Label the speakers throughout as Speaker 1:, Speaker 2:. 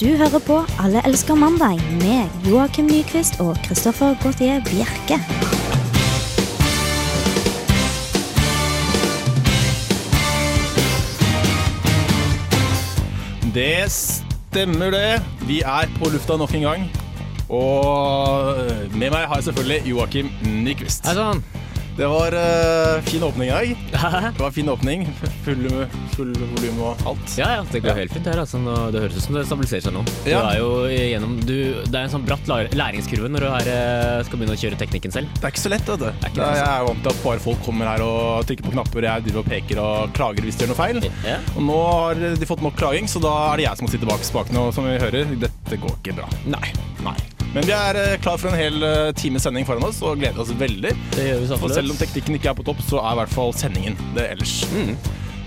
Speaker 1: Du hører på Alle elsker mandag med Joakim Nyquist og Christoffer Gautier Bjerke.
Speaker 2: Det stemmer det. Vi er på lufta nok en gang. Og eh, med meg har jeg selvfølgelig Joakim Nyquist.
Speaker 3: Hei sann!
Speaker 2: Det var eh, fin åpning i dag.
Speaker 3: Ja,
Speaker 2: Det var fin åpning. Full, full volum og alt.
Speaker 3: ja, det går helt fint her. Altså, nå, det høres ut som det stabiliserer seg nå. Du
Speaker 2: Ja.
Speaker 3: er jo gjennom, du, det er en sånn bratt lar- læringskurve når du er, eh, skal begynne å kjøre teknikken selv.
Speaker 2: Det er ikke så lett, vet du.
Speaker 3: er ikke det,
Speaker 2: Nei,
Speaker 3: altså.
Speaker 2: Jeg er jo vant til at bare folk kommer her og trykker på knapper, jeg driver og peker og klager hvis de gjør noe feil.
Speaker 3: Ja.
Speaker 2: Og nå har de fått nok klaging, så da er det jeg som må sitte bak spakene, og som vi hører, dette går ikke bra.
Speaker 3: Nei.
Speaker 2: Nei. Men vi er eh, klar for en hel eh, times sending foran oss, og gleder oss veldig.
Speaker 3: Det gjør vi
Speaker 2: For selv om
Speaker 3: samtidig.
Speaker 2: teknikken ikke er på topp, så er i hvert fall sendingen det ellers.
Speaker 3: Mm.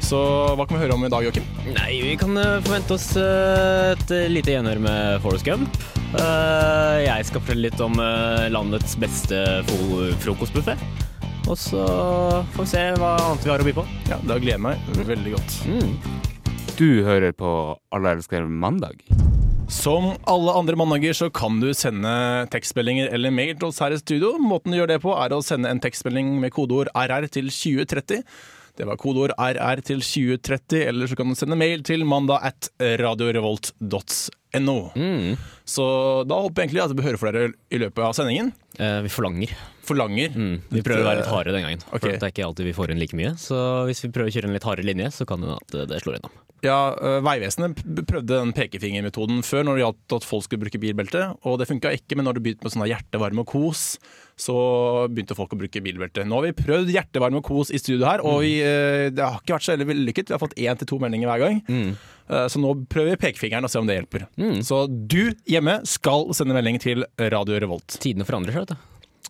Speaker 2: Så hva kan vi høre om i dag, Joakim?
Speaker 3: Nei, vi kan eh, forvente oss eh, et lite gjenhør med Forest Gump. Eh, jeg skal fortelle litt om eh, landets beste frokostbuffé. Og så får vi se hva annet vi har å by på.
Speaker 2: Ja, det gleder jeg meg veldig godt.
Speaker 4: Du hører på Alle elsker mandag.
Speaker 2: Som alle andre mandager så kan du sende tekstmeldinger eller mail til oss her i studio. Måten du gjør det på er å sende en tekstmelding med kodeord RR til 2030. Det var kodeord RR til 2030, eller så kan du sende mail til mandag at radiorevolt.no.
Speaker 3: Mm.
Speaker 2: Mm. Så da håper jeg egentlig at vi hører fra dere i løpet av sendingen.
Speaker 3: Eh, vi forlanger.
Speaker 2: Forlanger. eh,
Speaker 3: Mm, vi prøver å være litt harde den gangen.
Speaker 2: Ok.
Speaker 3: For det er ikke alltid vi får inn like mye. Så hvis vi prøver å kjøre en litt hardere linje, så kan det hende at eh, det slår innom.
Speaker 2: Ja, eh, Vegvesenet p- prøvde den pekefingermetoden før når det gjaldt at folk skulle bruke bilbelte, og det funka ikke, men når det begynte med sånn hjertevarme og kos, så begynte folk å bruke bilbelte. Nå har vi prøvd hjertevarme og kos i studio her, og vi, eh, det har ikke vært så veldig vellykket. Vi har fått én til to meldinger hver gang. Eh, Så nå prøver vi pekefingeren og ser om det hjelper. Så du hjemme skal sende melding til Radio Revolt.
Speaker 3: Tidene forandrer seg, vet du.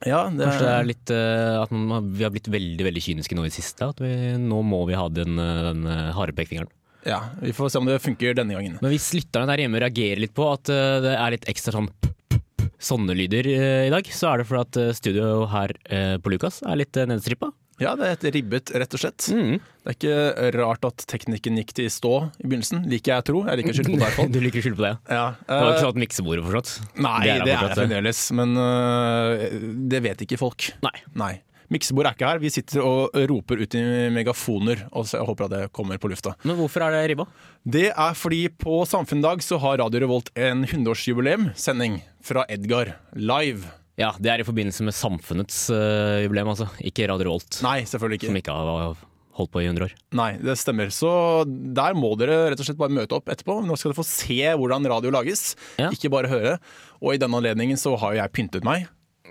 Speaker 2: Ja, det
Speaker 3: Kanskje det er litt eh, at man, har- vi har blitt veldig veldig kyniske nå i det siste. At vi, nå må vi ha den, eh, den eh, harde pekefingeren.
Speaker 2: ja, Vi får se om det funker denne gangen.
Speaker 3: Men hvis lytterne der hjemme reagerer litt på at eh, det er litt ekstra sånn p- p- p- sånne lyder eh, i dag, så er det fordi at eh, studio her eh, på Lukas er litt uh, nedstrippa.
Speaker 2: Ja, det heter ribbet, rett og slett. Det er ikke rart at teknikken gikk til stå i begynnelsen, liker jeg å tro. Jeg liker å skylde på det i hvert fall.
Speaker 3: Du liker å skylde på det? ja.
Speaker 2: Ja,
Speaker 3: Det var
Speaker 2: eh,
Speaker 3: ikke sånn at miksebordet forstått?
Speaker 2: nei, det er det
Speaker 3: fortsatt,
Speaker 2: fremdeles, men eh, det vet ikke folk.
Speaker 3: Nei.
Speaker 2: Nei. Miksebord er ikke her. Vi sitter og roper ut i megafoner og så jeg håper at det kommer på lufta.
Speaker 3: Men hvorfor er det ribba?
Speaker 2: Det er fordi på Samfunnsdag så har Radio Revolt en 100-årsjubileum-sending fra Edgar live.
Speaker 3: Ja, det er i forbindelse med samfunnets eh, jubileum, altså. Ikke Radio Rolt,
Speaker 2: Nei, selvfølgelig ikke.
Speaker 3: som ikke har holdt på i 100 år.
Speaker 2: Nei, det stemmer. Så der må dere rett og slett bare møte opp etterpå. Nå skal dere få se hvordan radio lages,
Speaker 3: Ja.
Speaker 2: ikke bare høre. Og i den anledningen så har jo jeg pyntet meg.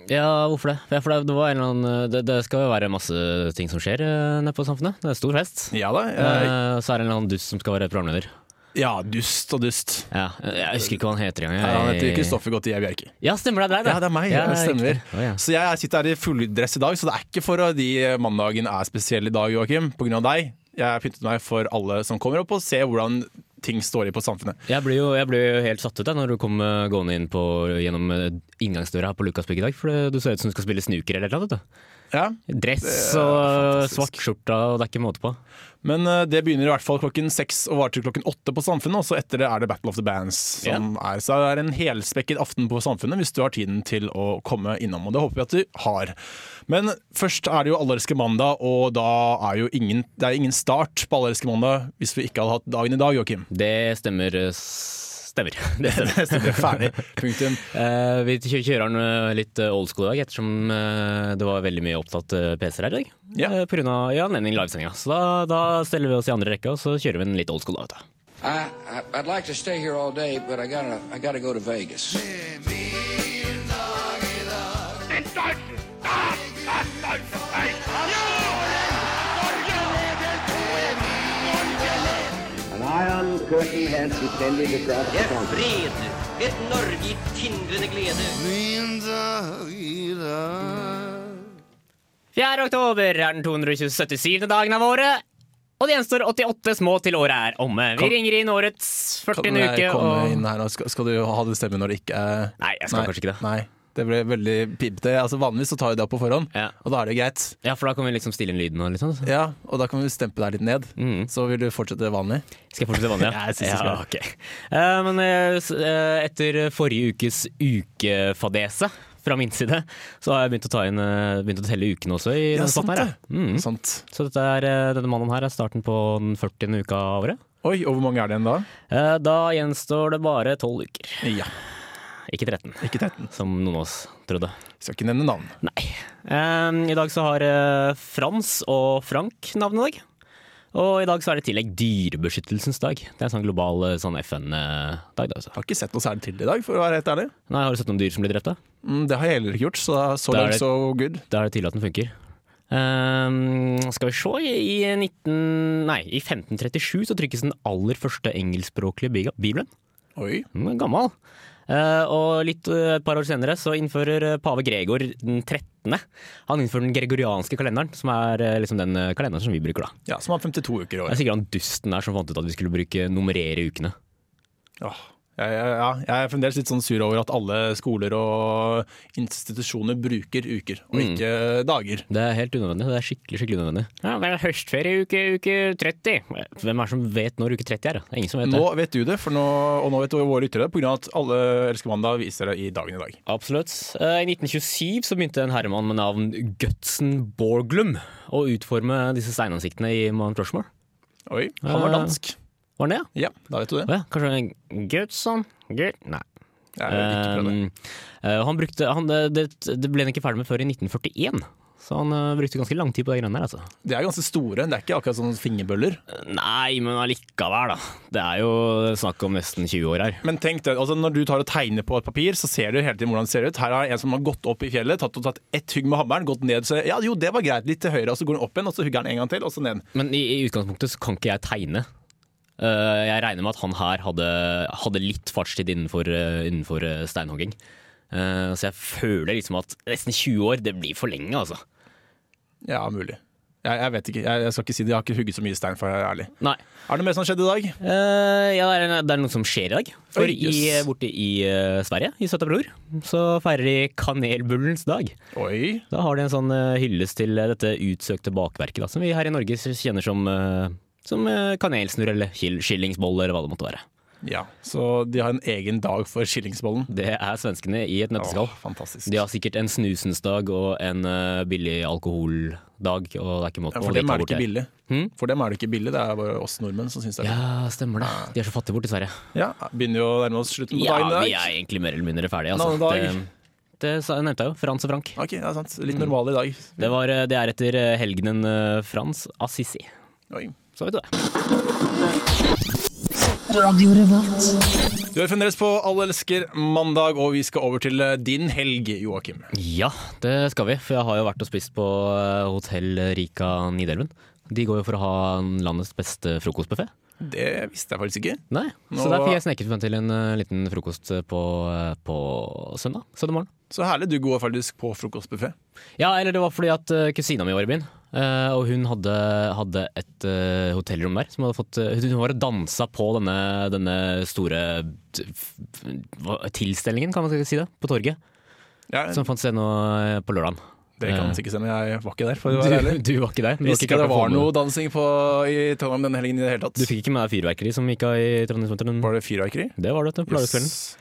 Speaker 3: Ja, hvorfor det? Ja, for det, det, var en eller annen, eh, det, det skal jo være masse ting som skjer eh, nede på Samfunnet. Det er stor fest.
Speaker 2: Ja da. eh,
Speaker 3: Eh, så er det en eller annen dust som skal være programleder.
Speaker 2: Ja, dust og dust.
Speaker 3: Ja, eh, jeg husker ikke hva han heter engang.
Speaker 2: Ja, han heter
Speaker 3: Jeg-
Speaker 2: Kristoffer Gautier Bjerke.
Speaker 3: Ja, stemmer det. er deg,
Speaker 2: Ja, det er meg. det stemmer.
Speaker 3: riktig. Å, ja.
Speaker 2: Så jeg sitter her i fulludress i dag, så det er ikke for at de mandagen er spesiell i dag, Joakim, på grunn av deg. Jeg har pyntet meg for alle som kommer opp, og ser hvordan ting står i på samfunnet.
Speaker 3: Jeg ble, jo, jeg ble jo helt satt ut da når du kom eh, gående inn på, gjennom eh, inngangsdøra her på Lukasbygg i dag. For det- du ser ut som du skal spille snooker eller noe. vet du.
Speaker 2: Ja,
Speaker 3: Dress
Speaker 2: Det er
Speaker 3: og
Speaker 2: fantastisk.
Speaker 3: svart skjorta, og det er ikke måte på.
Speaker 2: Men eh, det begynner i hvert fall klokken seks og varer til klokken åtte på Samfunnet. Og så etter det er det Battle of the Bands som er. Så det er en helspekket aften på Samfunnet hvis du har tiden til å komme innom. Og det håper vi at du har. Men først er det jo Allerske mandag, og da er jo ingen, det er ingen start på Allerske mandag hvis vi ikke hadde hatt dagen i dag, Joakim.
Speaker 3: Det stemmer. eh, s- Stemmer. Det stemmer.
Speaker 2: Så det er ferdig. Punktum.
Speaker 3: Eh, vi kjø- kjører den eh, litt eh, old school i dag, ettersom eh, det var veldig mye opptatt eh, PC-er her i dag.
Speaker 2: Ja.
Speaker 3: Eh, på grunn av i anledning livesendinga. Så da, da steller vi oss i andre rekke, og så kjører vi den litt old school. da, vet du.
Speaker 5: I, I I'd like to stay here all day, but I gotta I gotta go to Vegas.
Speaker 6: Den deutschen Staat, das deutsche Volk.
Speaker 7: An iron curtain had descended across the country.
Speaker 8: fred, et Norge i tindrende glede.
Speaker 3: 4. oktober er den 277. dagen av året. Og det gjenstår 88 små til året er omme. Vi
Speaker 2: Kan-
Speaker 3: ringer inn årets
Speaker 2: Kan
Speaker 3: 40.
Speaker 2: jeg
Speaker 3: uke
Speaker 2: komme
Speaker 3: og
Speaker 2: inn her, og skal, skal du ha det stemmen når det ikke er
Speaker 3: Nei, jeg skal kanskje ikke det.
Speaker 2: Nei. Det ble veldig pipete. Altså, vanligvis så tar vi det opp på forhånd,
Speaker 3: Ja.
Speaker 2: og da er det greit.
Speaker 3: Ja, for da kan vi liksom stille inn lyden og litt sånn. så.
Speaker 2: Ja, Og da kan vi stempe deg litt ned.
Speaker 3: Mm.
Speaker 2: Så vil du fortsette vanlig.
Speaker 3: Skal jeg fortsette vanlig?
Speaker 2: Ja, jeg synes du
Speaker 3: ja, ok. Eh, men eh, s- eh, etter forrige ukes ukefadese fra min side, så har jeg begynt å, ta inn, eh, begynt å telle ukene også. i denne spotten her, ja. Mm.
Speaker 2: Sant.
Speaker 3: Så dette er, eh, denne mannen her er starten på den 40. uka av året.
Speaker 2: Oi, og hvor mange er det igjen da?
Speaker 3: Eh, Da gjenstår det bare 12 uker,
Speaker 2: Ja,
Speaker 3: ikke 13,
Speaker 2: ikke 13.
Speaker 3: som noen av oss trodde.
Speaker 2: Skal ikke nevne navn.
Speaker 3: Nei. Eh, I dag så har eh, Frans og Frank navn i dag. Og i dag så er det i tillegg dyrebeskyttelsens dag. Det er en sånn global eh, sånn FN-dag. da altså.
Speaker 2: Har ikke sett noe særlig til det i dag, for å være helt ærlig.
Speaker 3: Nei, Har du sett noen dyr som blir drept? da?
Speaker 2: Mm, det har jeg heller ikke gjort, så så
Speaker 3: Da er
Speaker 2: langt
Speaker 3: det-
Speaker 2: so good.
Speaker 3: Da er det tydelig at den funker. Ehm, skal vi se I, 19, nei, I 1537 så trykkes den aller første engelskspråklige bi- bibelen.
Speaker 2: Oi.
Speaker 3: Den er gammel. Eh, og litt, eh, et par år senere så innfører eh, pave Gregor den 13. Han innfører den gregorianske kalenderen, som er eh, liksom den eh, kalenderen som vi bruker. da.
Speaker 2: Ja, som har 52 uker i
Speaker 3: Det er
Speaker 2: år.
Speaker 3: sikkert han dusten der som fant ut at vi skulle bruke nummerere ukene.
Speaker 2: Åh. Ja, ja, ja. Jeg er fremdeles litt sånn sur over at alle skoler og institusjoner bruker uker, og
Speaker 3: Mm.
Speaker 2: ikke dager.
Speaker 3: Det er helt unødvendig. Det er skikkelig skikkelig unødvendig. Ja, Det er høstferie uke, uke 30. Hvem er det som vet når uke 30 er? da? Det er ingen som vet
Speaker 2: Nå
Speaker 3: det.
Speaker 2: vet du det, for nå, og nå vet våre lyttere det, pga. at alle Elsker mandag viser det i dagen i dag.
Speaker 3: Absolutt. Eh, I 1927 så begynte en herremann med navn Gutsen Borglum å utforme disse steinansiktene i Mount Rushmore.
Speaker 2: Oi, han
Speaker 3: Ah.
Speaker 2: var dansk.
Speaker 3: Var han det, ja?
Speaker 2: Ja, da vet du det.
Speaker 3: Å ja kanskje en Gutsen Gut... Nei.
Speaker 2: Jeg vil ikke prøve det.
Speaker 3: Eh, eh, han brukte, han, eh, det, det ble han ikke ferdig med før i 1941, så han eh, brukte ganske lang tid på de greiene der. altså.
Speaker 2: De er ganske store, det er ikke akkurat sånn fingerbøller.
Speaker 3: Nei, men allikevel, da. Det er jo snakk om nesten 20 år her.
Speaker 2: Men tenk det, altså når du tar og tegner på et papir, så ser du hele tiden hvordan det ser ut. Her er en som har gått opp i fjellet, tatt, tatt ett hugg med hammeren, gått ned, så ja, jo, det var greit, litt til høyre, og så går den opp igjen, og så hugger den en gang til, og så ned.
Speaker 3: Men i, i utgangspunktet så kan ikke jeg tegne. Eh, jeg regner med at han her hadde, hadde litt fartstid innenfor, eh, innenfor eh, steinhogging. Eh, så jeg føler liksom at nesten 20 år, det blir for lenge, altså.
Speaker 2: Ja, mulig. Jeg, jeg vet ikke, jeg, jeg skal ikke si det, jeg har ikke hugget så mye stein, for å være ærlig.
Speaker 3: Nei.
Speaker 2: Er det mer som har skjedd i dag?
Speaker 3: Eh, ja, det er, det er noe som skjer i dag. For
Speaker 2: Oi, jøss.
Speaker 3: i, borte i eh, Sverige, i Søta Bror, så feirer de kanelbullens dag.
Speaker 2: Oi,
Speaker 3: Da har de en sånn eh, hyllest til eh, dette utsøkte bakverket, da, som vi her i Norge kjenner som, eh, som eh, kanelsnurr eller kill- skillingsboll eller hva det måtte være.
Speaker 2: ja. Så de har en egen dag for skillingsbollen.
Speaker 3: Det er svenskene i et nøtteskall.
Speaker 2: Åh, fantastisk.
Speaker 3: De har sikkert en snusens dag og en eh, billig alkoholdag, og det er ikke måte
Speaker 2: Ja,
Speaker 3: på
Speaker 2: for
Speaker 3: det
Speaker 2: dem
Speaker 3: tar
Speaker 2: er det
Speaker 3: bort
Speaker 2: ikke
Speaker 3: her.
Speaker 2: billig.
Speaker 3: Hm?
Speaker 2: For dem er det ikke billig, det er bare oss nordmenn som syns det er billig.
Speaker 3: Ja, stemmer det. De er så fattige borte i Sverige.
Speaker 2: Ja, begynner jo å nærme oss slutten på
Speaker 3: Ja,
Speaker 2: dagen i Ah. dag.
Speaker 3: vi er egentlig mer eller mindre ferdige. Altså.
Speaker 2: En annen dag. Ah.
Speaker 3: Det, det sa- nevnte jeg jo. Frans og Frank.
Speaker 2: Ok, ja, sant. Litt normal i dag.
Speaker 3: Det, var, eh, det er etter eh, helgenen eh, Frans Assisi.
Speaker 2: Oi.
Speaker 3: Så vet du det.
Speaker 2: Du er fremdeles på Alle elsker mandag, og vi skal over til eh, din helg, Joakim.
Speaker 3: Ja, det skal vi. For jeg har jo vært og spist på eh, Hotell Rika Nidelven. De går jo for å ha landets beste frokostbuffé.
Speaker 2: Det visste jeg faktisk ikke.
Speaker 3: Nei, så
Speaker 2: Nå-
Speaker 3: der fikk jeg sneket meg til en eh, liten frokost på, eh, på søndag. Søndag morgen.
Speaker 2: Så herlig, du går faktisk på frokostbuffé.
Speaker 3: Ja, eller det var fordi at eh, kusina mi var i byen. eh, og hun hadde, hadde et eh, hotellrom der. Som hadde fått, eh, hun var og dansa på denne, denne store t- f- hva- tilstelningen, kan man si det, på torget.
Speaker 2: Ja,
Speaker 3: Som fant sted nå eh, på lørdagen.
Speaker 2: det kan sikkert stemme, jeg var ikke der. for
Speaker 3: Du,
Speaker 2: å være ærlig.
Speaker 3: du var ikke der. men du har
Speaker 2: Hvis
Speaker 3: ikke
Speaker 2: ikke
Speaker 3: klart
Speaker 2: det
Speaker 3: å få
Speaker 2: var
Speaker 3: med-
Speaker 2: noe dansing på, i Trondheim denne helgen i det hele tatt.
Speaker 3: Du fikk ikke med deg fyrverkeri som gikk av i Trondheimsvinteren?
Speaker 2: Var det fyrverkeri?
Speaker 3: Det var det, vet du, på lørdagskvelden.
Speaker 2: Yes.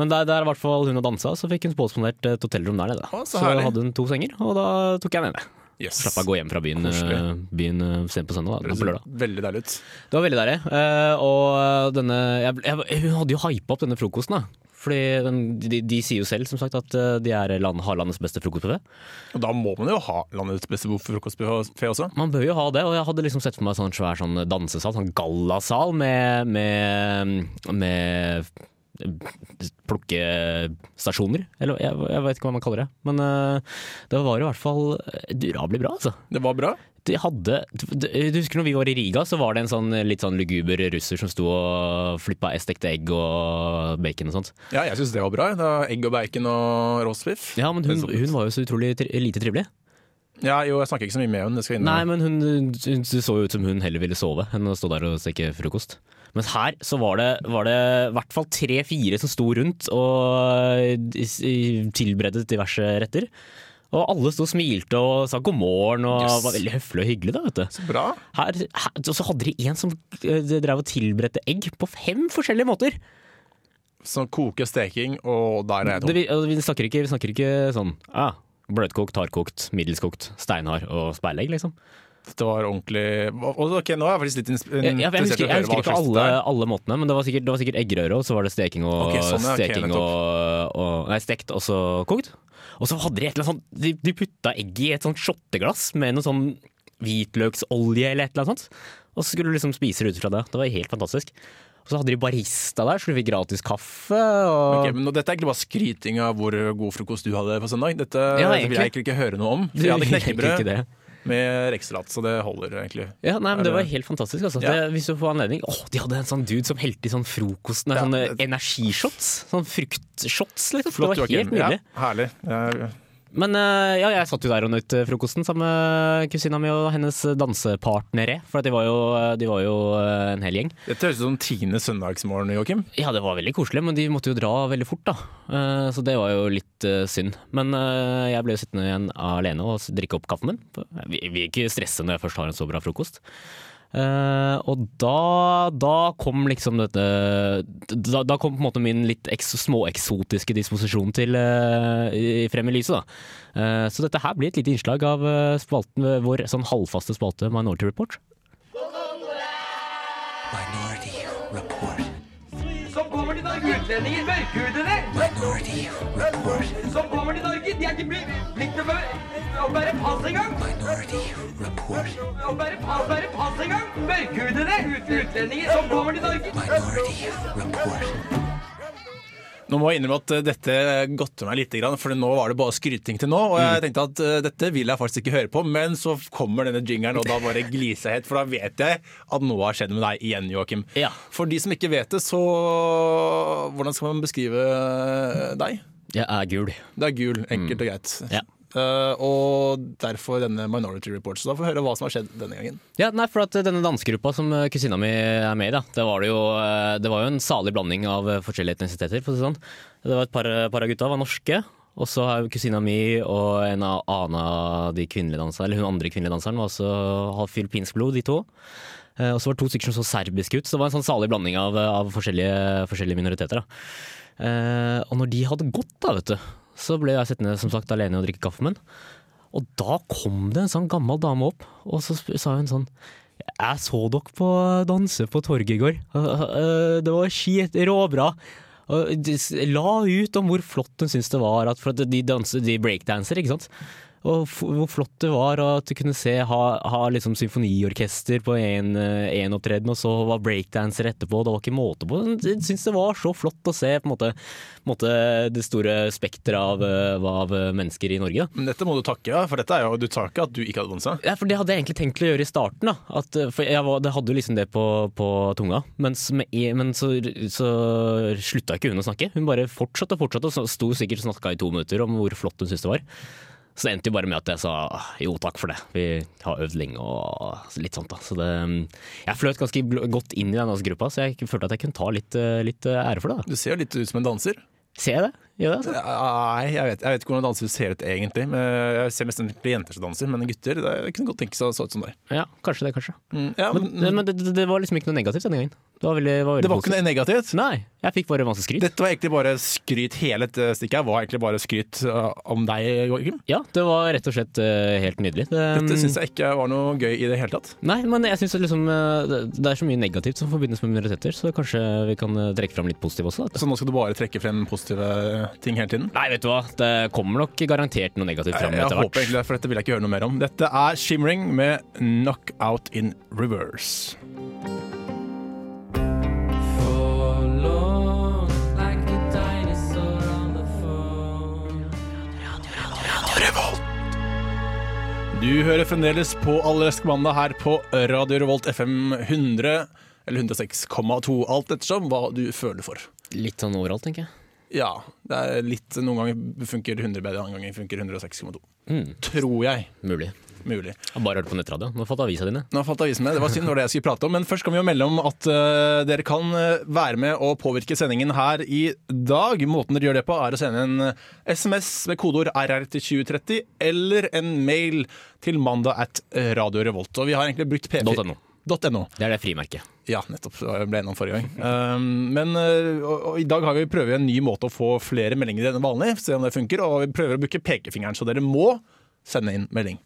Speaker 3: Men der, der i hvert fall hun har dansa, så fikk hun påspandert et hotellrom der nede.
Speaker 2: Å, så
Speaker 3: så
Speaker 2: herlig.
Speaker 3: hadde hun to senger, og da tok jeg med meg.
Speaker 2: Yes.
Speaker 3: Slapp av å gå hjem fra byen,
Speaker 2: Koselig.
Speaker 3: eh, byen eh, sent på søndag. Da,
Speaker 2: Det
Speaker 3: på lørdag.
Speaker 2: ser veldig deilig ut.
Speaker 3: Det var veldig deilig. eh, og denne jeg, ble- jeg, Hun hadde jo hypa opp denne frokosten, da. Fordi den, de, de sier jo selv som sagt at eh, de er land, har landets beste frokostbuffé.
Speaker 2: Og da må man jo ha landets beste frokostbuffé også.
Speaker 3: Man bør jo ha det, og jeg hadde liksom sett for meg sånn svær sånn dansesal, sånn gallasal med, med, med plukkestasjoner. Eller jeg, jeg vet ikke hva man kaller det. Men eh, det var i hvert fall durabelig bra, altså.
Speaker 2: Det var bra.
Speaker 3: De hadde Du du husker når vi var i Riga, så var det en sånn litt sånn luguber russer som sto og flippa stekte egg og bacon og sånt.
Speaker 2: Ja, jeg syns det var bra. Det var egg og bacon og roastbiff.
Speaker 3: Ja, men hun, hun var jo så utrolig tri lite trivelig.
Speaker 2: Ja, jo, jeg snakker ikke så mye med henne. Det skal jeg
Speaker 3: Nei,
Speaker 2: innrømme.
Speaker 3: men hun, hun, hun så jo ut som hun heller ville sove enn å stå der og steke frokost. Mens her så var det, var det i hvert fall tre-fire som sto rundt og eh, i- tilberedte diverse retter. Og alle sto og smilte og sa god morgen og
Speaker 2: Yes.
Speaker 3: var veldig høflige og hyggelige. da, vet du.
Speaker 2: Så bra.
Speaker 3: Her, her, og så hadde de en som eh, drev og tilberedte egg på fem forskjellige måter.
Speaker 2: Så sånn koke, steking, og der er jeg
Speaker 3: Det,
Speaker 2: tom.
Speaker 3: vi, altså, vi, snakker ikke, vi snakker ikke sånn ah, bløtkokt, hardkokt, middelskokt, steinhard og speilegg, liksom.
Speaker 2: Det var ordentlig Og- Ok, nå er jeg faktisk litt ins-
Speaker 3: Jeg, jeg, jeg, husker,
Speaker 2: interessert i å
Speaker 3: jeg
Speaker 2: høre hva
Speaker 3: husker ikke
Speaker 2: slags
Speaker 3: alle,
Speaker 2: det er.
Speaker 3: alle måtene, men det var sikkert, det var sikkert eggerøre, og så var det steking og
Speaker 2: Ok, sånn, ja, ok,
Speaker 3: steking og, og Nei, stekt og så kokt. Og så hadde de et eller annet sånt De, de putta egget i et sånt shotteglass med noe sånn hvitløksolje eller et eller annet sånt. Og så skulle du liksom spise det ut fra det. Det var helt fantastisk. Og så hadde de barista der, så du fikk gratis kaffe. Og...
Speaker 2: Ok, men nå- Dette er egentlig bare skryting av hvor god frokost du hadde på søndag. Dette
Speaker 3: Ja,
Speaker 2: dette vil jeg
Speaker 3: egentlig.
Speaker 2: egentlig ikke høre noe om.
Speaker 3: Du-
Speaker 2: Jeg hadde
Speaker 3: ikke
Speaker 2: knekkebrød
Speaker 3: det.
Speaker 2: med rekesalat, så det holder egentlig.
Speaker 3: Ja, nei, men Det
Speaker 2: Er
Speaker 3: var
Speaker 2: det-
Speaker 3: helt fantastisk. Altså.
Speaker 2: Ja.
Speaker 3: Det, hvis du får anledning Åh, De hadde en sånn dude som helte i sånn frokost Nei,
Speaker 2: Ja,
Speaker 3: sånne
Speaker 2: det-
Speaker 3: energishots. Sånn fruktshots, liksom.
Speaker 2: Flott,
Speaker 3: det var
Speaker 2: Joakim.
Speaker 3: helt nydelig.
Speaker 2: Ja, herlig. Jeg-
Speaker 3: Men eh, ja, jeg satt jo der og nøt eh, frokosten sammen med kusina mi og hennes dansepartnere. For at de var jo, de var jo eh, en hel gjeng.
Speaker 2: Dette høres ut som tiende søndagsmorgen, Joakim.
Speaker 3: Ja, det var veldig koselig, men de måtte jo dra veldig fort, da. Eh, Så det var jo litt eh, synd. Men eh, jeg ble jo sittende igjen alene og s- drikke opp kaffen min. For eh, Jeg vil ikke stresse når jeg først har en så bra frokost. Eh, og da, da kom liksom dette da, da kom på en måte min litt eks, småeksotiske disposisjon til eh, i- frem i lyset, da. Eh, så dette her blir et lite innslag av eh, spalten, vår sånn halvfaste spalte Minority Report.
Speaker 8: Som kommer til Norge, utlendinger, mørkhudede. Som kommer til Norge, de er ikke bli- blitt til å bære- å bære pass engang. Å bære pass, bære pass engang. Mørkhudede, ut- utlendinger som kommer til Norge.
Speaker 2: Nå må jeg innrømme at eh, dette godte meg litt, for nå var det bare skryting til nå. Og
Speaker 3: Mm.
Speaker 2: jeg tenkte at eh, dette vil jeg faktisk ikke høre på, men så kommer denne jingeren, og da bare gliser jeg helt, for da vet jeg at noe har skjedd med deg igjen, Joakim.
Speaker 3: Ja.
Speaker 2: For de som ikke vet det, så Hvordan skal man beskrive eh, deg?
Speaker 3: Jeg er gul.
Speaker 2: Det er gul, enkelt og greit.
Speaker 3: Mm. Ja.
Speaker 2: Eh, og derfor denne Minority Report. Så da får vi høre hva som har skjedd denne gangen.
Speaker 3: Ja, nei, for at denne dansegruppa som eh, kusina mi er med i, da, det, var det, jo, eh, det var jo en salig blanding av eh, forskjellige etnisiteter. For å si det, sånn. det var et par, par av gutta var norske, og så har kusina mi og en av Ana, de kvinnelige danserne, eller hun andre kvinnelige danseren, var også, har filippinsk blod, de to. Eh, Og så var det to stykker som så serbiske ut, så det var en sånn salig blanding av, av forskjellige, forskjellige minoriteter. Da. Eh, og når de hadde gått, da, vet du, så ble jeg sittende som sagt alene og drikke kaffen min. Og da kom det en sånn gammel dame opp, og så sp- sa hun sånn Jeg så dere på danse på torget i går. Eh, eh, Det var skit råbra. Og de s- La ut om hvor flott hun syntes det var, at, for at de, danser, de breakdanser, ikke sant. Og f hvor flott det var og at du kunne se ha, ha liksom symfoniorkester på én opptreden, og så var breakdanser etterpå. Det var ikke måte på. Jeg syns det var så flott å se på en måte, på en måte det store spekteret av, eh, av eh, mennesker i Norge. da.
Speaker 2: Men dette må du takke, ja, for dette er jo, du tar ikke at du ikke hadde dansa.
Speaker 3: Ja, for Det hadde jeg egentlig tenkt til å gjøre i starten. da at, eh, For jeg var, Det hadde jo liksom det på, på tunga. Mens med, e- men så, så slutta ikke hun å snakke. Hun bare fortsatte og fortsatte, og så sto sikkert og snakka i to minutter om hvor flott hun syntes det var. Så det endte jo bare med at jeg sa jo takk for det, vi har øvd lenge og litt sånt. da Så det, Jeg fløt ganske bl- godt inn i den altså, gruppa, så jeg følte at jeg kunne ta litt, eh, litt eh, ære for det. da
Speaker 2: Du ser jo litt ut som en danser.
Speaker 3: Ser jeg det? Gjør jeg det?
Speaker 2: Nei, jeg vet, jeg vet ikke hvordan dansere ser ut egentlig. Men eh, Jeg ser mest egentlig jenter som danser, men gutter det kunne godt tenke seg å se ut som deg.
Speaker 3: Ja, kanskje det, kanskje.
Speaker 2: Ja,
Speaker 3: Men,
Speaker 2: men,
Speaker 3: men det, det- det var liksom ikke noe negativt denne gangen. Det var veldig, var veldig
Speaker 2: det var ikke
Speaker 3: positivt.
Speaker 2: noe negativt.
Speaker 3: Nei, jeg fikk bare masse skryt.
Speaker 2: Dette var egentlig bare skryt. Hele dette stikket her var egentlig bare skryt uh, om deg, Joakim.
Speaker 3: Ja, det var rett og slett eh, helt nydelig. Det, mm,
Speaker 2: Dette syns jeg ikke var noe gøy i det hele tatt.
Speaker 3: Nei, men jeg synes det liksom, eh, det det er så mye negativt som forbindes med minoriteter, så kanskje vi kan eh, trekke fram litt positivt også. Da.
Speaker 2: Så nå skal du bare trekke frem positive eh, ting hele tiden?
Speaker 3: Nei, vet du hva, det kommer nok garantert noe negativt fram
Speaker 2: Jeg,
Speaker 3: etter
Speaker 2: håper
Speaker 3: hvert.
Speaker 2: egentlig det, for dette vil jeg ikke høre noe mer om. Dette er Shimmering med Knockout in Reverse. Du hører fremdeles på Allersk mandag her på Radio Revolt FM 100, eller 106,2, alt ettersom hva du føler for.
Speaker 3: Litt sånn overalt, tenker jeg.
Speaker 2: Ja, det er litt Noen ganger funker 100 bedre, andre ganger funker 106,2. Tror jeg.
Speaker 3: Mulig.
Speaker 2: mulig.
Speaker 3: Jeg bare hørt på nettradio. Nå har jeg fått avisa dine.
Speaker 2: Nå falt avisen med. Det var synd, det var det jeg skulle prate om. Men først kan vi jo melde om at eh, dere kan eh, være med og påvirke sendingen her i dag. Måten dere gjør det på, er å sende en eh, SMS med kodeord RR til 2030 eller en mail til mandag at eh, Radio Revolt. Og vi har egentlig brukt P4
Speaker 3: .no.
Speaker 2: .no.
Speaker 3: Det er det frimerket.
Speaker 2: Ja, nettopp. Jeg ble innom forrige gang. Um, men uh, og, og i dag har vi prøver vi en ny måte å få flere meldinger enn vanlig. Se om det funker. Og vi prøver å bruke pekefingeren, så dere må sende inn melding.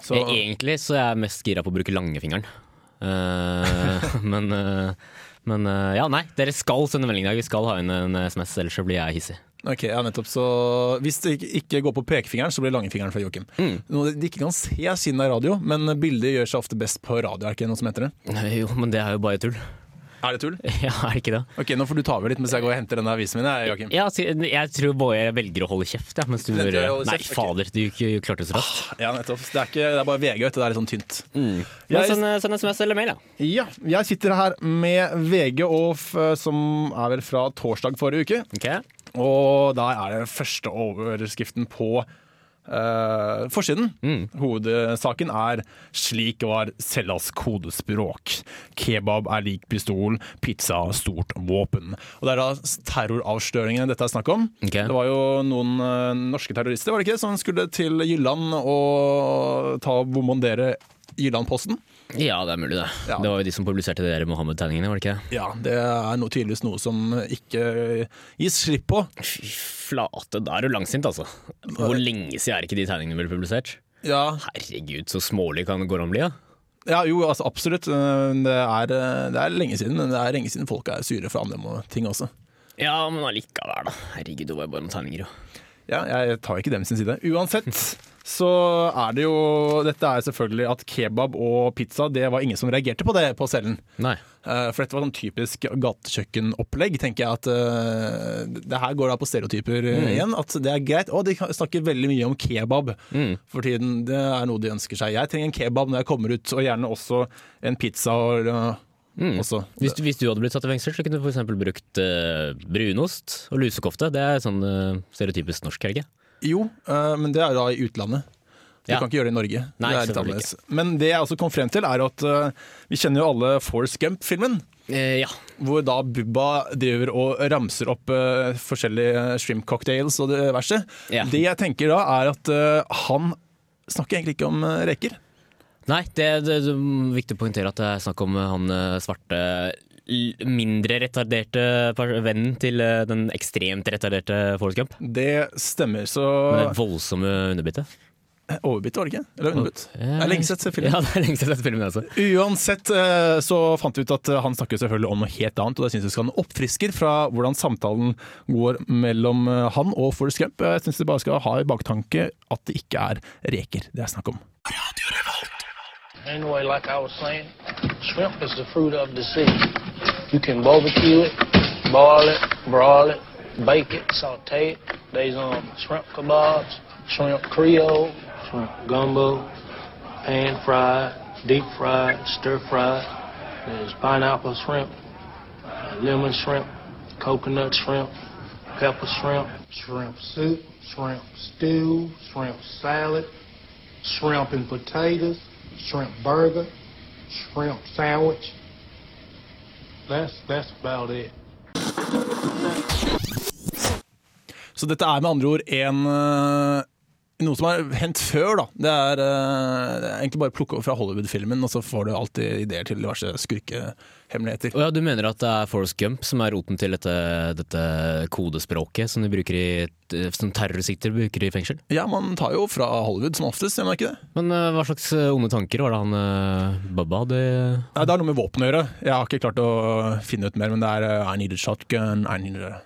Speaker 2: Så,
Speaker 3: Eh, Egentlig så er jeg mest gira på å bruke langfingeren. Eh, men eh, men eh, ja, nei. Dere skal sende melding i dag. Vi skal ha inn en SMS, ellers så blir jeg hissig.
Speaker 2: ok, ja, nettopp. Så hvis det ikke, ikke går på pekefingeren, så blir det langfingeren fra Joakim. Noe de ikke kan se siden det er radio, men bildet gjør seg ofte best på radio. Er det ikke noe som heter det?
Speaker 3: Nei, Jo, men det er jo bare tull.
Speaker 2: Er det tull?
Speaker 3: Ja, er det ikke det?
Speaker 2: Ok, Nå får du ta over litt mens jeg går og henter denne avisen min. jeg, Joakim.
Speaker 3: Ja, så jeg jeg tror bare jeg velger å holde kjeft, ja, mens du
Speaker 2: Velger
Speaker 3: bare
Speaker 2: å holde
Speaker 3: Nei,
Speaker 2: kjeft, ok.
Speaker 3: fader, du k- klarte det så raskt.
Speaker 2: Ja, nettopp. Det er, ikke, det er bare VG, vet du. Det er litt sånn tynt.
Speaker 3: Men
Speaker 2: Jeg-
Speaker 3: send, send SMS eller mail, ja.
Speaker 2: Ja, jeg sitter her med VG, og f eh, som er vel fra torsdag forrige uke.
Speaker 3: Ok.
Speaker 2: Og der er det den første overskriften på eh, forsiden. Hovedsaken er 'Slik var Sellas kodespråk'. Kebab er lik pistol, pizza stort våpen. Og Det er da terroravsløringene dette er snakk om.
Speaker 3: Ok.
Speaker 2: Det var jo noen eh, norske terrorister var det ikke, som skulle til Jylland og ta bombardere Jyllandposten.
Speaker 3: Ja, det er mulig, det.
Speaker 2: Ja.
Speaker 3: Det var jo de som publiserte de der Mohammed-tegningene, var det ikke det?
Speaker 2: Ja, det er no, tydeligvis noe som ikke gis slipp på.
Speaker 3: Fy flate, da er du langsint, altså. Hvor lenge siden er ikke de tegningene ble publisert?
Speaker 2: Ja,
Speaker 3: Herregud, så smålig kan går om bli, ja.
Speaker 2: ja jo, altså, absolutt. Det er, eh, det er lenge siden, men det er lenge siden folk er sure for andre må- ting også.
Speaker 3: Ja, men allikevel, da. Herregud, det var jo bare noen tegninger, jo.
Speaker 2: Ja, jeg tar ikke dem sin side. Uansett så er det jo Dette er selvfølgelig at kebab og pizza, det var ingen som reagerte på det på cellen.
Speaker 3: Nei.
Speaker 2: Eh, For dette var sånn typisk gatekjøkkenopplegg, tenker jeg at eh, det her går da på stereotyper eh, igjen. At det er greit. Og de kan- snakker veldig mye om kebab for tiden. Det er noe de ønsker seg. Jeg trenger en kebab når jeg kommer ut, og gjerne også en pizza. Og, eh, også.
Speaker 3: Hvis, du- hvis du hadde blitt satt i fengsel, så kunne du f.eks. brukt eh, brunost og lusekofte. Det er sånn eh, stereotypisk norsk, er det ikke?
Speaker 2: Jo, eh, men det er da i utlandet. Du
Speaker 3: Ja.
Speaker 2: kan ikke gjøre det i Norge.
Speaker 3: Nei,
Speaker 2: det er litt
Speaker 3: selvfølgelig
Speaker 2: annerledes. Men det jeg også kom frem til, er at eh, vi kjenner jo alle Force Gump-filmen.
Speaker 3: Eh, ja.
Speaker 2: Hvor da Bubba driver og ramser opp eh, forskjellige shrimp cocktails og det verste.
Speaker 3: Ja.
Speaker 2: Det jeg tenker da, er at eh, han snakker egentlig ikke om eh, reker.
Speaker 3: Nei, det, det, det er viktig å poengtere at det er snakk om eh, han eh, svarte l- mindre retarderte per- vennen til eh, den ekstremt retarderte Forrest Gump.
Speaker 2: Det stemmer, så
Speaker 3: Med det voldsomme underbitet.
Speaker 2: Overbitt, var det ikke? Eller underbitt? Det er lenge siden jeg har sett filmen.
Speaker 3: Ja, det er lenge siden jeg har sett filmen. Altså.
Speaker 2: Uansett eh, så fant vi ut at eh, han snakker selvfølgelig om noe helt annet, og det syns jeg skal ha en oppfrisker fra hvordan samtalen går mellom eh, han og Forrest Gump. Jeg syns vi bare skal ha i baktanke at det ikke er reker det er snakk om.
Speaker 9: Anyway, like I was saying, shrimp is the fruit of the sea. You can barbecue it, boil it, broil it, bake it, saute it. There's um, shrimp kebabs, shrimp creole, shrimp gumbo, pan fried, deep fried, stir fried. There's pineapple shrimp, uh, lemon shrimp, coconut shrimp, pepper shrimp, shrimp soup, shrimp stew, shrimp salad, shrimp and potatoes, shrimp burger, shrimp sandwich. That's that's about it.
Speaker 2: Så dette er med andre ord en eh, noe som har hendt før, da. Det er, eh, det er egentlig bare å plukke over fra Hollywood-filmen, og så får du alltid ideer til diverse skurkehemmeligheter.
Speaker 3: Og ja, du mener at det er Forrest Gump som er roten til dette, dette kodespråket som, de bruker i, eh, som terrorsikter bruker i fengsel?
Speaker 2: Ja, man tar jo fra Hollywood som oftest, gjør man ikke det?
Speaker 3: Men eh, hva slags eh, onde tanker var det han uh, Babba hadde?
Speaker 2: Nei, Det har noe med våpen å gjøre. Jeg har ikke klart å finne ut mer, men det er eh, I need a shotgun, I need a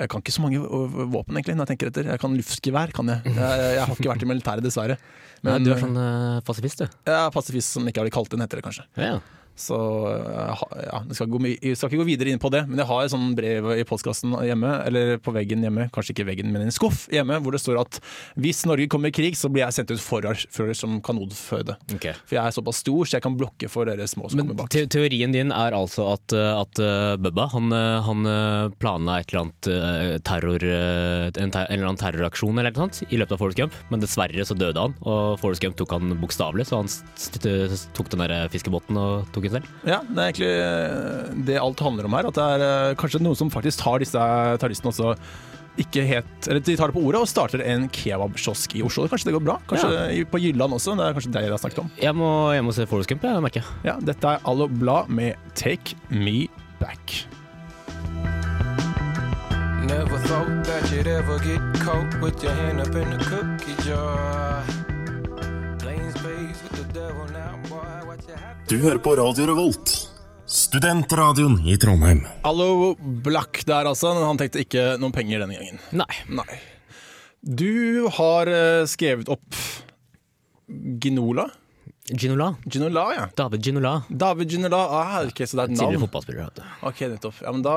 Speaker 2: Jeg kan ikke så mange v- våpen, egentlig, når jeg tenker etter. Jeg kan luftgevær, kan jeg. Jeg, jeg har ikke vært i militæret, dessverre.
Speaker 3: Nei,
Speaker 2: Men
Speaker 3: du er sånn eh, pasifist, du.
Speaker 2: jeg er pasifist som ikke har blitt kalt inn, heter det kanskje.
Speaker 3: Ja.
Speaker 2: Så eh, ha- ja, jeg skal, gå, my- jeg skal ikke gå videre inn på det, men jeg har et sånt brev i postkassen hjemme, eller på veggen hjemme, kanskje ikke veggen, men en skuff hjemme, hvor det står at hvis Norge kommer i krig, så blir jeg sendt ut forhåndsfører som kanonføde.
Speaker 3: Ok.
Speaker 2: For jeg er såpass stor, så jeg kan blokke for dere små som
Speaker 3: Men
Speaker 2: kommer bak.
Speaker 3: te teorien din er altså at, eh, at eh, Bubba han, eh, han eh, planla et eller annet eh, terror, eh, en, ter en eller annen terroraksjon eller noe sånt i løpet av Forest Gump, men dessverre så døde han, og Forest Gump tok han bokstavelig, så han st st tok den der fiskebåten og tok den selv.
Speaker 2: Ja, det er egentlig eh, det alt handler om her. At det er eh, kanskje noen som faktisk tar disse terroristene også ikke helt Eller de tar det på ordet og starter en kebabkiosk i Oslo. Kanskje det går bra? Kanskje i- på Jylland også? Det er kanskje det jeg har snakket om.
Speaker 3: Jeg må, jeg må se Forest Gump, jeg merker.
Speaker 2: Ja, dette er Allo Blad med Take Me Back.
Speaker 10: Never thought that you'd ever get caught with your hand up in the cookie jar. Playing spades with the devil now, boy. What you have
Speaker 11: Du hører på Radio Revolt, studentradioen i Trondheim.
Speaker 2: Allo Black der, altså. men Han tenkte ikke noen penger denne gangen.
Speaker 3: Nei.
Speaker 2: Nei. Du har eh, skrevet opp Ginola?
Speaker 3: Ginola.
Speaker 2: Ginola, ja.
Speaker 3: David Ginola.
Speaker 2: David Ginola. Ah, ok, så det er et
Speaker 3: Tidligere
Speaker 2: navn.
Speaker 3: fotballspiller. vet du.
Speaker 2: Ok, nettopp. Ja, men da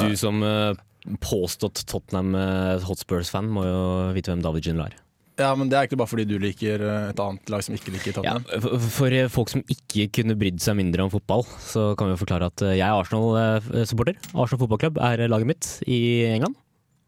Speaker 3: Du som eh, påstått Tottenham eh, Hotspurs-fan må jo vite hvem David Ginola er.
Speaker 2: Ja, men det er egentlig bare fordi du liker eh, et annet lag som ikke liker
Speaker 3: Ja,
Speaker 2: Tottenham.
Speaker 3: for- for eh, folk som ikke kunne brydd seg mindre om fotball, så kan vi jo forklare at eh, jeg er Arsenal-supporter. Arsenal fotballklubb er eh, laget mitt i England.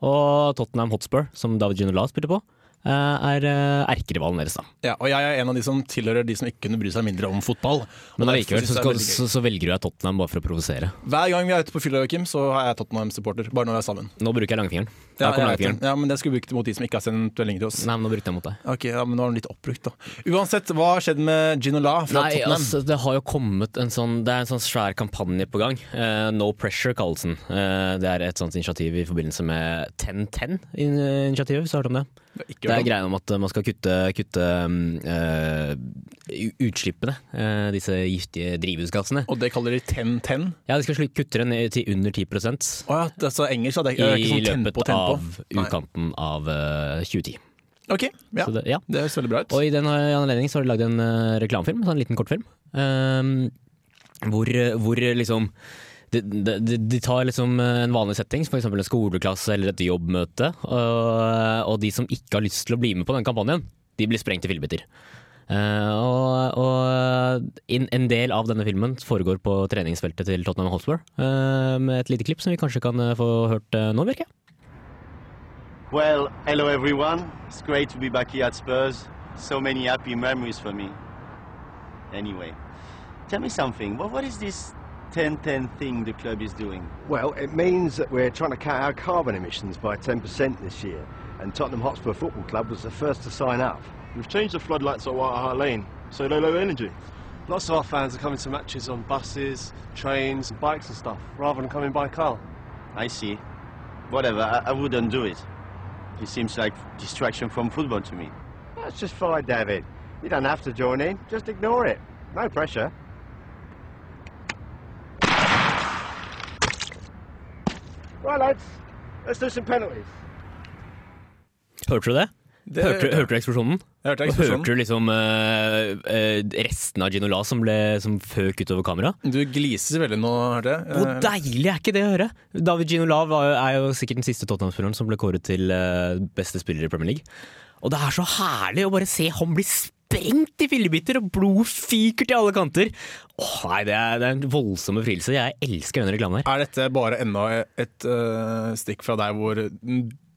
Speaker 3: Og Tottenham Hotspur, som David Ginola spilte på, eh, er eh, erkerivalen deres, da.
Speaker 2: Ja. og jeg er en av de som tilhører de som ikke kunne bry seg mindre om fotball. Og
Speaker 3: Men
Speaker 2: derfor
Speaker 3: allikevel
Speaker 2: synes
Speaker 3: så,
Speaker 2: jeg det er veldig
Speaker 3: skal-
Speaker 2: gøy.
Speaker 3: så, så velger jeg Tottenham bare for å provosere.
Speaker 2: Hver gang vi er ute på fylla, Joakim, så er jeg Tottenham-supporter. Bare når vi er sammen.
Speaker 3: Nå bruker jeg langfingeren.
Speaker 2: Ja,
Speaker 3: Der kom
Speaker 2: jeg vet
Speaker 3: langfingeren.
Speaker 2: det. ja, men det skulle vi brukt mot de som ikke har sendt melding til oss.
Speaker 3: Nei, men nå brukte jeg mot deg.
Speaker 2: Ok, ja, men nå er den litt oppbrukt, da. Uansett, hva har skjedd med Ginola fra
Speaker 3: Nei,
Speaker 2: Tottenham?
Speaker 3: altså, det har jo kommet en sånn Det er en sånn svær kampanje på gang. Eh, no Pressure kalles den. Eh, det er et sånt initiativ i forbindelse med 1010-initiativet, hvis du har hørt om det.
Speaker 2: Det er ikke
Speaker 3: Det er
Speaker 2: Jordan.
Speaker 3: greia om at man skal kutte, kutte mm, eh, u- utslippene, eh, disse giftige drivhusgassene.
Speaker 2: Og det kaller de 10-10?
Speaker 3: Ja, De skal slik- kutte det ned til under 10
Speaker 2: Å ja, det er så engelsk, da. Det
Speaker 3: i
Speaker 2: er ikke sånn tempo,
Speaker 3: løpet
Speaker 2: tempo.
Speaker 3: av
Speaker 2: Nei.
Speaker 3: utkanten av eh, 2010.
Speaker 2: Ok, ja.
Speaker 3: Så
Speaker 2: Det,
Speaker 3: det, ja.
Speaker 2: høres veldig bra ut.
Speaker 3: Og i den anledning så har de lagd en eh, reklamefilm, så en liten kortfilm, ehm, hvor, hvor liksom de, de, de- de tar liksom en vanlig setting, som for eksempel en skoleklasse eller et jobbmøte, og, og de som ikke har lyst til å bli med på den kampanjen, de blir sprengt i fillebiter. Eh, og og in, en del av denne filmen foregår på treningsfeltet til Tottenham Hotspur, eh, med et lite klipp som vi kanskje kan eh, få hørt eh, nå, virker
Speaker 12: Well, hello everyone. It's great to be back here at Spurs. So many happy memories for me. Anyway, tell me something. What, what is this 1010 thing the club is doing?
Speaker 7: Well, it means that we're trying to cut our carbon emissions by 10% this year, and Tottenham Hotspur Football Club was the first to sign up.
Speaker 13: We've changed the floodlights at White Hart Lane, so low, low energy. Lots of our fans are coming to matches on buses, trains, bikes and stuff, rather than coming by car.
Speaker 12: I see. Whatever, I, I wouldn't do it. It seems like distraction from football to me.
Speaker 7: That's just fine, David. You don't have to join in, just ignore it. No pressure. Right, lads, let's do some penalties.
Speaker 3: Hørte du det?
Speaker 2: Det-
Speaker 3: hørte, hørte du eksplosjonen?
Speaker 2: Jeg hørte
Speaker 3: Og
Speaker 2: eksplosjonen.
Speaker 3: Hørte du liksom eh, eh, resten av Ginola som, ble, som føk utover kamera?
Speaker 2: Du gliser veldig nå, hørte jeg. Eh,
Speaker 3: Hvor deilig er ikke det å høre? David Ginola var, jo- er jo sikkert den siste Tottenham-spilleren som ble kåret til eh, beste spiller i Premier League. Og det er så herlig å bare se han bli sprengt i fillebiter, og blod fyker til alle kanter. Åh, nei, det er, det er en voldsom befrielse. Jeg elsker denne reklamen her.
Speaker 2: Er dette bare enda et eh, stikk fra deg hvor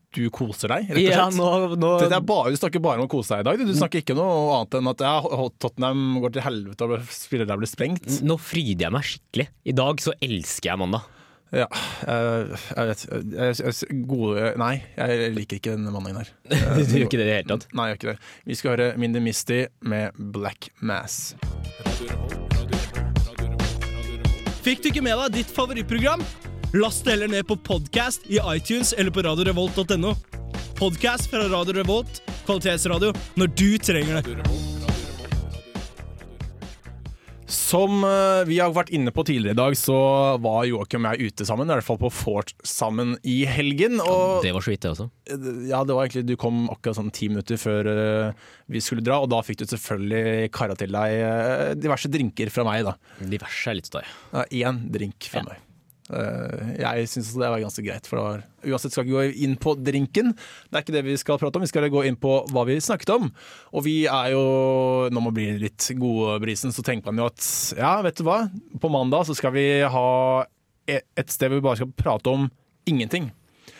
Speaker 2: du koser deg, rett og
Speaker 3: Ja,
Speaker 2: slett?
Speaker 3: nå, nå,
Speaker 2: Dette er bare, du snakker bare om å kose deg i dag. Du, du snakker ikke noe annet enn at ja, Tottenham går til helvete og spillere der blir sprengt.
Speaker 3: nå fryder jeg meg skikkelig. I dag så elsker jeg mandag.
Speaker 2: Ja, eh, jeg vet jeg, jeg, gode, Nei, jeg liker ikke denne mandagen her. Eh,
Speaker 3: Du gjør ikke det i det hele tatt.
Speaker 2: Nei, jeg gjør ikke det. Vi skal høre Mindy Misty med Black Mass.
Speaker 14: Fikk du ikke med deg ditt favorittprogram? Last det heller ned på podcast i iTunes eller på radiorevolt.no. Podcast fra Radio Revolt, kvalitetsradio, når du trenger det.
Speaker 2: Som eh, vi har vært inne på tidligere i dag, så var Joakim og jeg ute sammen, i hvert fall på Fort sammen i helgen. Og
Speaker 3: Det var så vidt, det også.
Speaker 2: ja, det var egentlig, du kom akkurat sånn ti minutter før eh, vi skulle dra, og da fikk du selvfølgelig kara til deg eh, diverse drinker fra meg. da.
Speaker 3: Diverse er litt støy.
Speaker 2: Ja, Én drink fra meg. Eh, jeg syns det var ganske greit. for det var, Uansett skal vi ikke gå inn på drinken. Det er ikke det vi skal prate om, vi skal gå inn på hva vi snakket om. Og vi er jo, nå må bli litt godbrisen, så tenker man jo at ja, vet du hva, på mandag så skal vi ha e- et sted hvor vi bare skal prate om ingenting.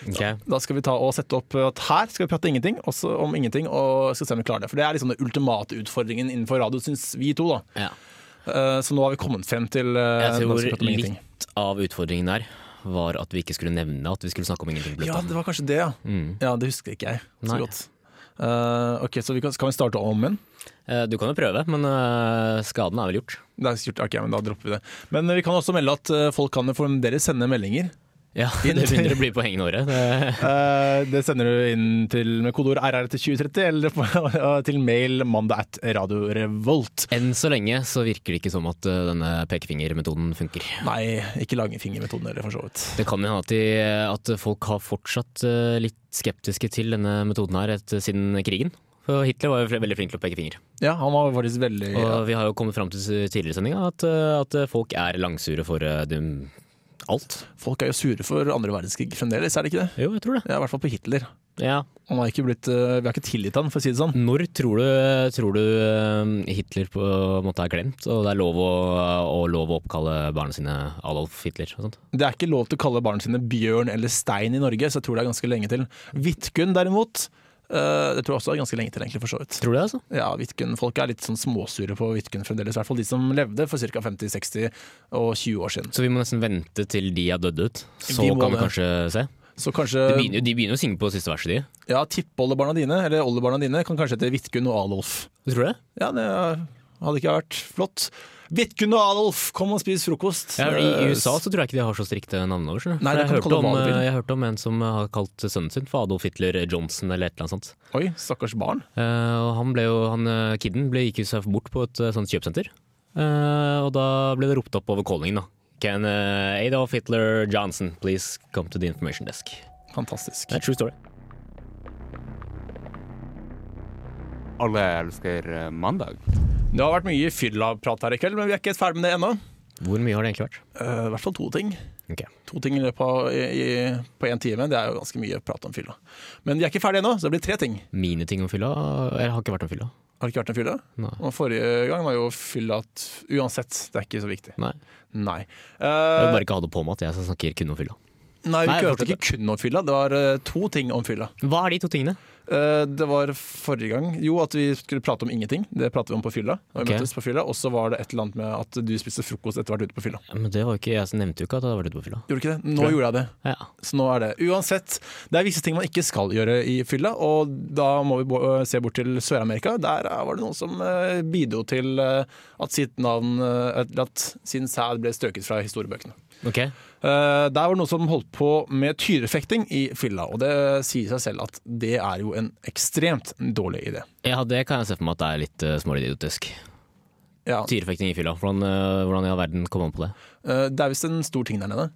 Speaker 2: Da skal vi ta og sette opp at her skal vi prate ingenting, også om ingenting, og skal se om vi klarer det. For det er liksom den ultimate utfordringen innenfor radio, syns vi to, da. Eh, Så nå har vi kommet frem til eh,
Speaker 3: Jeg
Speaker 2: når vi skal prate
Speaker 3: tror
Speaker 2: om ingenting.
Speaker 3: litt av utfordringen der var at vi ikke skulle nevne at vi skulle snakke om ingenting. på
Speaker 2: Ja,
Speaker 3: lufta.
Speaker 2: det var kanskje det, ja.
Speaker 3: Mm.
Speaker 2: Ja, det husker ikke jeg så
Speaker 3: Nei.
Speaker 2: godt. Eh, ok, så vi kan, Skal vi starte om igjen?
Speaker 3: Eh, Du kan jo prøve, men eh, skaden er vel gjort.
Speaker 2: Det er gjort, ok, men Da dropper vi det. Men eh, vi kan også melde at eh, folk kan jo fremdeles sende meldinger.
Speaker 3: Ja,
Speaker 2: Inn
Speaker 3: Det
Speaker 2: til-
Speaker 3: begynner å bli på hengende året. Det-
Speaker 2: Eh, det sender du inn til med kodeord RR til 2030, eller på- til mail mandag at radio revolt.
Speaker 3: Enn så lenge så virker det ikke som at eh, denne pekefingermetoden funker.
Speaker 2: Nei, ikke langfingermetoden heller, for så vidt.
Speaker 3: Det kan jo hende at, de, eh, at folk har fortsatt eh, litt skeptiske til denne metoden her et, siden krigen. For Hitler var jo fl- veldig flink til å peke finger.
Speaker 2: Ja, han var faktisk veldig
Speaker 3: Og vi har jo kommet fram til s- tidligere i sendinga at, eh, at folk er langsure for eh, dem- alt.
Speaker 2: Folk er jo sure for andre verdenskrig fremdeles, er det ikke det?
Speaker 3: Jo, jeg tror det.
Speaker 2: Ja, I hvert fall på Hitler.
Speaker 3: Ja.
Speaker 2: Han har ikke blitt, eh, vi har ikke tilgitt han, for å si det sånn.
Speaker 3: Når tror du, tror du eh, Hitler på en måte er glemt, og det er lov å, og lov å oppkalle barna sine Adolf Hitler og sånt?
Speaker 2: Det er ikke lov til å kalle barna sine bjørn eller stein i Norge, så jeg tror det er ganske lenge til. Vidkun derimot, eh, det tror jeg også er ganske lenge til, egentlig, for så vidt.
Speaker 3: Tror du det, altså?
Speaker 2: Ja, Vidkun, Folk er litt sånn småsure på Vidkun fremdeles, i hvert fall de som levde for ca. 50, 60 og 20 år siden.
Speaker 3: Så vi må nesten vente til de er dødd ut, så
Speaker 2: Vi må det.
Speaker 3: kan vi
Speaker 2: Eh,
Speaker 3: kanskje se?
Speaker 2: Så kanskje
Speaker 3: De begynner, jo- de begynner jo å synge på siste verset, de.
Speaker 2: Ja, tippoldebarna dine, eller oldebarna dine, kan kanskje hete Vidkun og Adolf.
Speaker 3: Du tror det?
Speaker 2: Ja, det hadde ikke vært flott. Vidkun og Adolf, kom og spis frokost!
Speaker 3: Ja, I
Speaker 2: Eh,
Speaker 3: USA så tror jeg ikke de har så strikte navn over. skjønner du.
Speaker 2: Nei,
Speaker 3: For
Speaker 2: det kan
Speaker 3: jeg,
Speaker 2: du
Speaker 3: hørte
Speaker 2: kalle
Speaker 3: om, eh,
Speaker 2: hva du vil.
Speaker 3: jeg hørte om en som har kalt sønnen sin for Adolf Hitler Johnson eller et eller annet sånt.
Speaker 2: Oi, stakkars barn.
Speaker 3: Eh, og han ble jo, han, eh, kidden ble, gikk jo seg bort på et eh, sånt kjøpesenter, Eh, og da ble det ropt opp over callingen da. Can eh, Adolf Hitler Johnson please come to the information desk?
Speaker 2: Fantastisk.
Speaker 3: Det er true story.
Speaker 4: Alle elsker eh, mandag.
Speaker 2: Det har vært mye fylla-prat her i kveld, men vi er ikke helt ferdig med det ennå.
Speaker 3: Hvor mye har det egentlig vært?
Speaker 2: Eh, I hvert fall to ting.
Speaker 3: Ok.
Speaker 2: To ting i løpet av i, i, på én time. Det er jo ganske mye prat om fylla. Men vi er ikke ferdige ennå, så det blir tre ting.
Speaker 3: Mine ting om fylla? Jeg har ikke vært om fylla.
Speaker 2: Har det ikke vært en fylla?
Speaker 3: Nei.
Speaker 2: Og forrige gang var jo fylla at Uansett, det er ikke så viktig.
Speaker 3: Nei.
Speaker 2: Nei.
Speaker 3: Jeg
Speaker 2: Eh,
Speaker 3: vil bare ikke ha det på meg at jeg snakker kun om fylla.
Speaker 2: Nei, vi
Speaker 3: Nei,
Speaker 2: prøvde
Speaker 3: fortsett.
Speaker 2: ikke kun om fylla, det var eh, to ting om fylla.
Speaker 3: Hva er de to tingene?
Speaker 2: Eh, Det var forrige gang jo at vi skulle prate om ingenting. Det pratet vi om på fylla. Og
Speaker 3: Ok.
Speaker 2: vi møttes på fylla, og så var det et eller annet med at du spiste frokost etter å ha vært ute på fylla.
Speaker 3: Ja, Men det var jo ikke, jeg nevnte jo ikke at jeg hadde vært ute på fylla.
Speaker 2: Gjorde du ikke det?
Speaker 3: Tror
Speaker 2: Nå
Speaker 3: jeg.
Speaker 2: gjorde jeg det.
Speaker 3: Ja.
Speaker 2: Så nå er det. Uansett, det er visse ting man ikke skal gjøre i fylla, og da må vi bo- eh, se bort til Sør-Amerika. Der eh, var det noen som eh, bidro til eh, at sitt navn eh, eller At sin sæd ble strøket fra historiebøkene.
Speaker 3: Ok.
Speaker 2: Eh, Der var det noen som holdt på med tyrefekting i fylla, og det sier seg selv at det er jo en ekstremt dårlig idé.
Speaker 3: Ja, det kan jeg se for meg at det er litt uh, småidiotisk.
Speaker 2: Ja.
Speaker 3: Tyrefekting i fylla, hvordan, eh, hvordan i all verden kom man på det?
Speaker 2: Eh, Det er visst en stor ting der nede,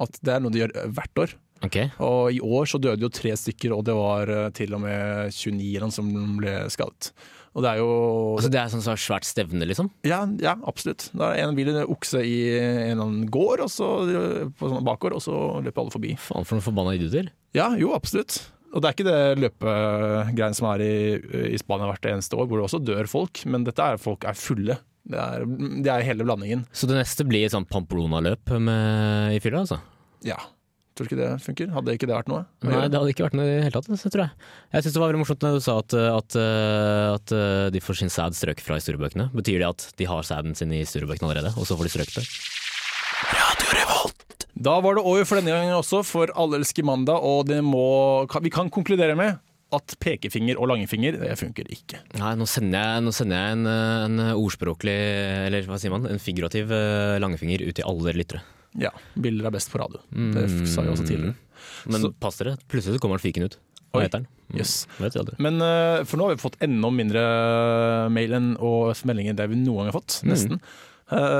Speaker 2: at det er noe de gjør eh, hvert år.
Speaker 3: Ok,
Speaker 2: Og i år så døde jo tre stykker, og det var eh, til og med 29 eller noe som ble skadet. Og det er jo
Speaker 3: altså Det er sånn svært- svært stevne, liksom?
Speaker 2: ja, ja, absolutt. Det er en bil, en okse i en eller annen gård, og så eh, på sånn bakgård, og så løper alle forbi.
Speaker 3: Faen for noen forbanna idioter.
Speaker 2: Ja, jo, absolutt. Og det er ikke det løpegreiene som er i, i Spania hvert eneste år, hvor det også dør folk, men dette er folk er fulle. Det er, det er hele blandingen.
Speaker 3: Så det neste blir et sånt Pamplona-løp med- i fylla, altså?
Speaker 2: Ja. Tror du ikke det funker? Hadde ikke det vært noe? å
Speaker 3: Nei,
Speaker 2: gjøre?
Speaker 3: det hadde ikke vært noe i det hele tatt, så tror jeg. Jeg syns det var veldig morsomt når du sa at, eh, at, eh, at eh, de får sin sæd strøket fra historiebøkene. Betyr det at de har sæden sin i historiebøkene allerede, og så får de strøket det?
Speaker 2: Da var det over for denne gangen også, for alle elsker mandag, og det må, kan- vi kan konkludere med at pekefinger og langfinger det funker ikke.
Speaker 3: Nei, nå sender jeg, nå sender jeg en, eh, en ordspråklig, eller hva sier man, en figurativ eh, langfinger ut til alle dere lyttere.
Speaker 2: Ja, Bilder er best på radio. Det sa jeg også tidligere.
Speaker 3: Mm. Men
Speaker 2: Så-
Speaker 3: pass dere, plutselig så kommer han fyken ut.
Speaker 2: Oi,
Speaker 3: Hva heter han? Mm,
Speaker 2: jøss.
Speaker 3: Vet vi aldri.
Speaker 2: Men
Speaker 3: Mm.
Speaker 2: eh, for nå har vi fått enda mindre mail enn og meldinger enn det vi noen gang har fått, nesten. Eh,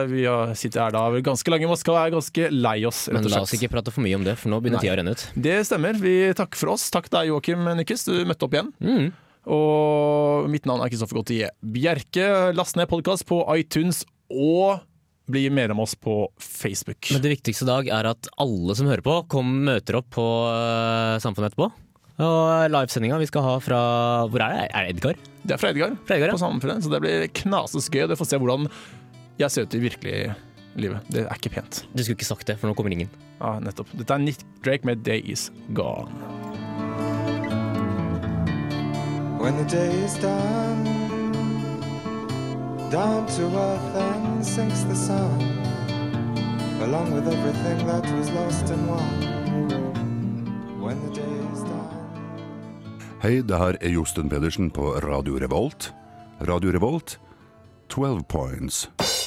Speaker 2: Vi har- sitter her da ganske lange i Moskva og er ganske lei oss. rett
Speaker 3: Men
Speaker 2: og
Speaker 3: la
Speaker 2: slett.
Speaker 3: oss ikke prate for mye om det, for nå begynner
Speaker 2: Nei.
Speaker 3: tida å renne ut.
Speaker 2: Det stemmer. Vi takker for oss. Takk deg, Joakim Nyquist. Du møtte opp igjen.
Speaker 3: Mm.
Speaker 2: Og mitt navn er Kristoffer Gautier Bjerke. Last ned podkast på iTunes og bli medlem av oss på Facebook.
Speaker 3: Men det viktigste i dag er at alle som hører på, kom møter opp på eh, Samfunnet etterpå. Og eh, livesendinga vi skal ha fra Hvor er det? Er det Edgar?
Speaker 2: Det er fra Edgar,
Speaker 3: ja.
Speaker 2: på Samfunnet, så det blir knases gøy. Dere får se hvordan jeg ser ut i virkelig livet. Det er ikke pent.
Speaker 3: Du skulle ikke sagt det, for nå kommer ingen.
Speaker 2: Ja, Ah, nettopp. Dette er Nick Drake med 'Day Is Gone'.
Speaker 9: When the day is done, down to earth and sinks the sun, along with everything that was lost and won. When the day is done.
Speaker 15: Hei, det her er Josten Pedersen på Radio Revolt. Radio Revolt, 12 points.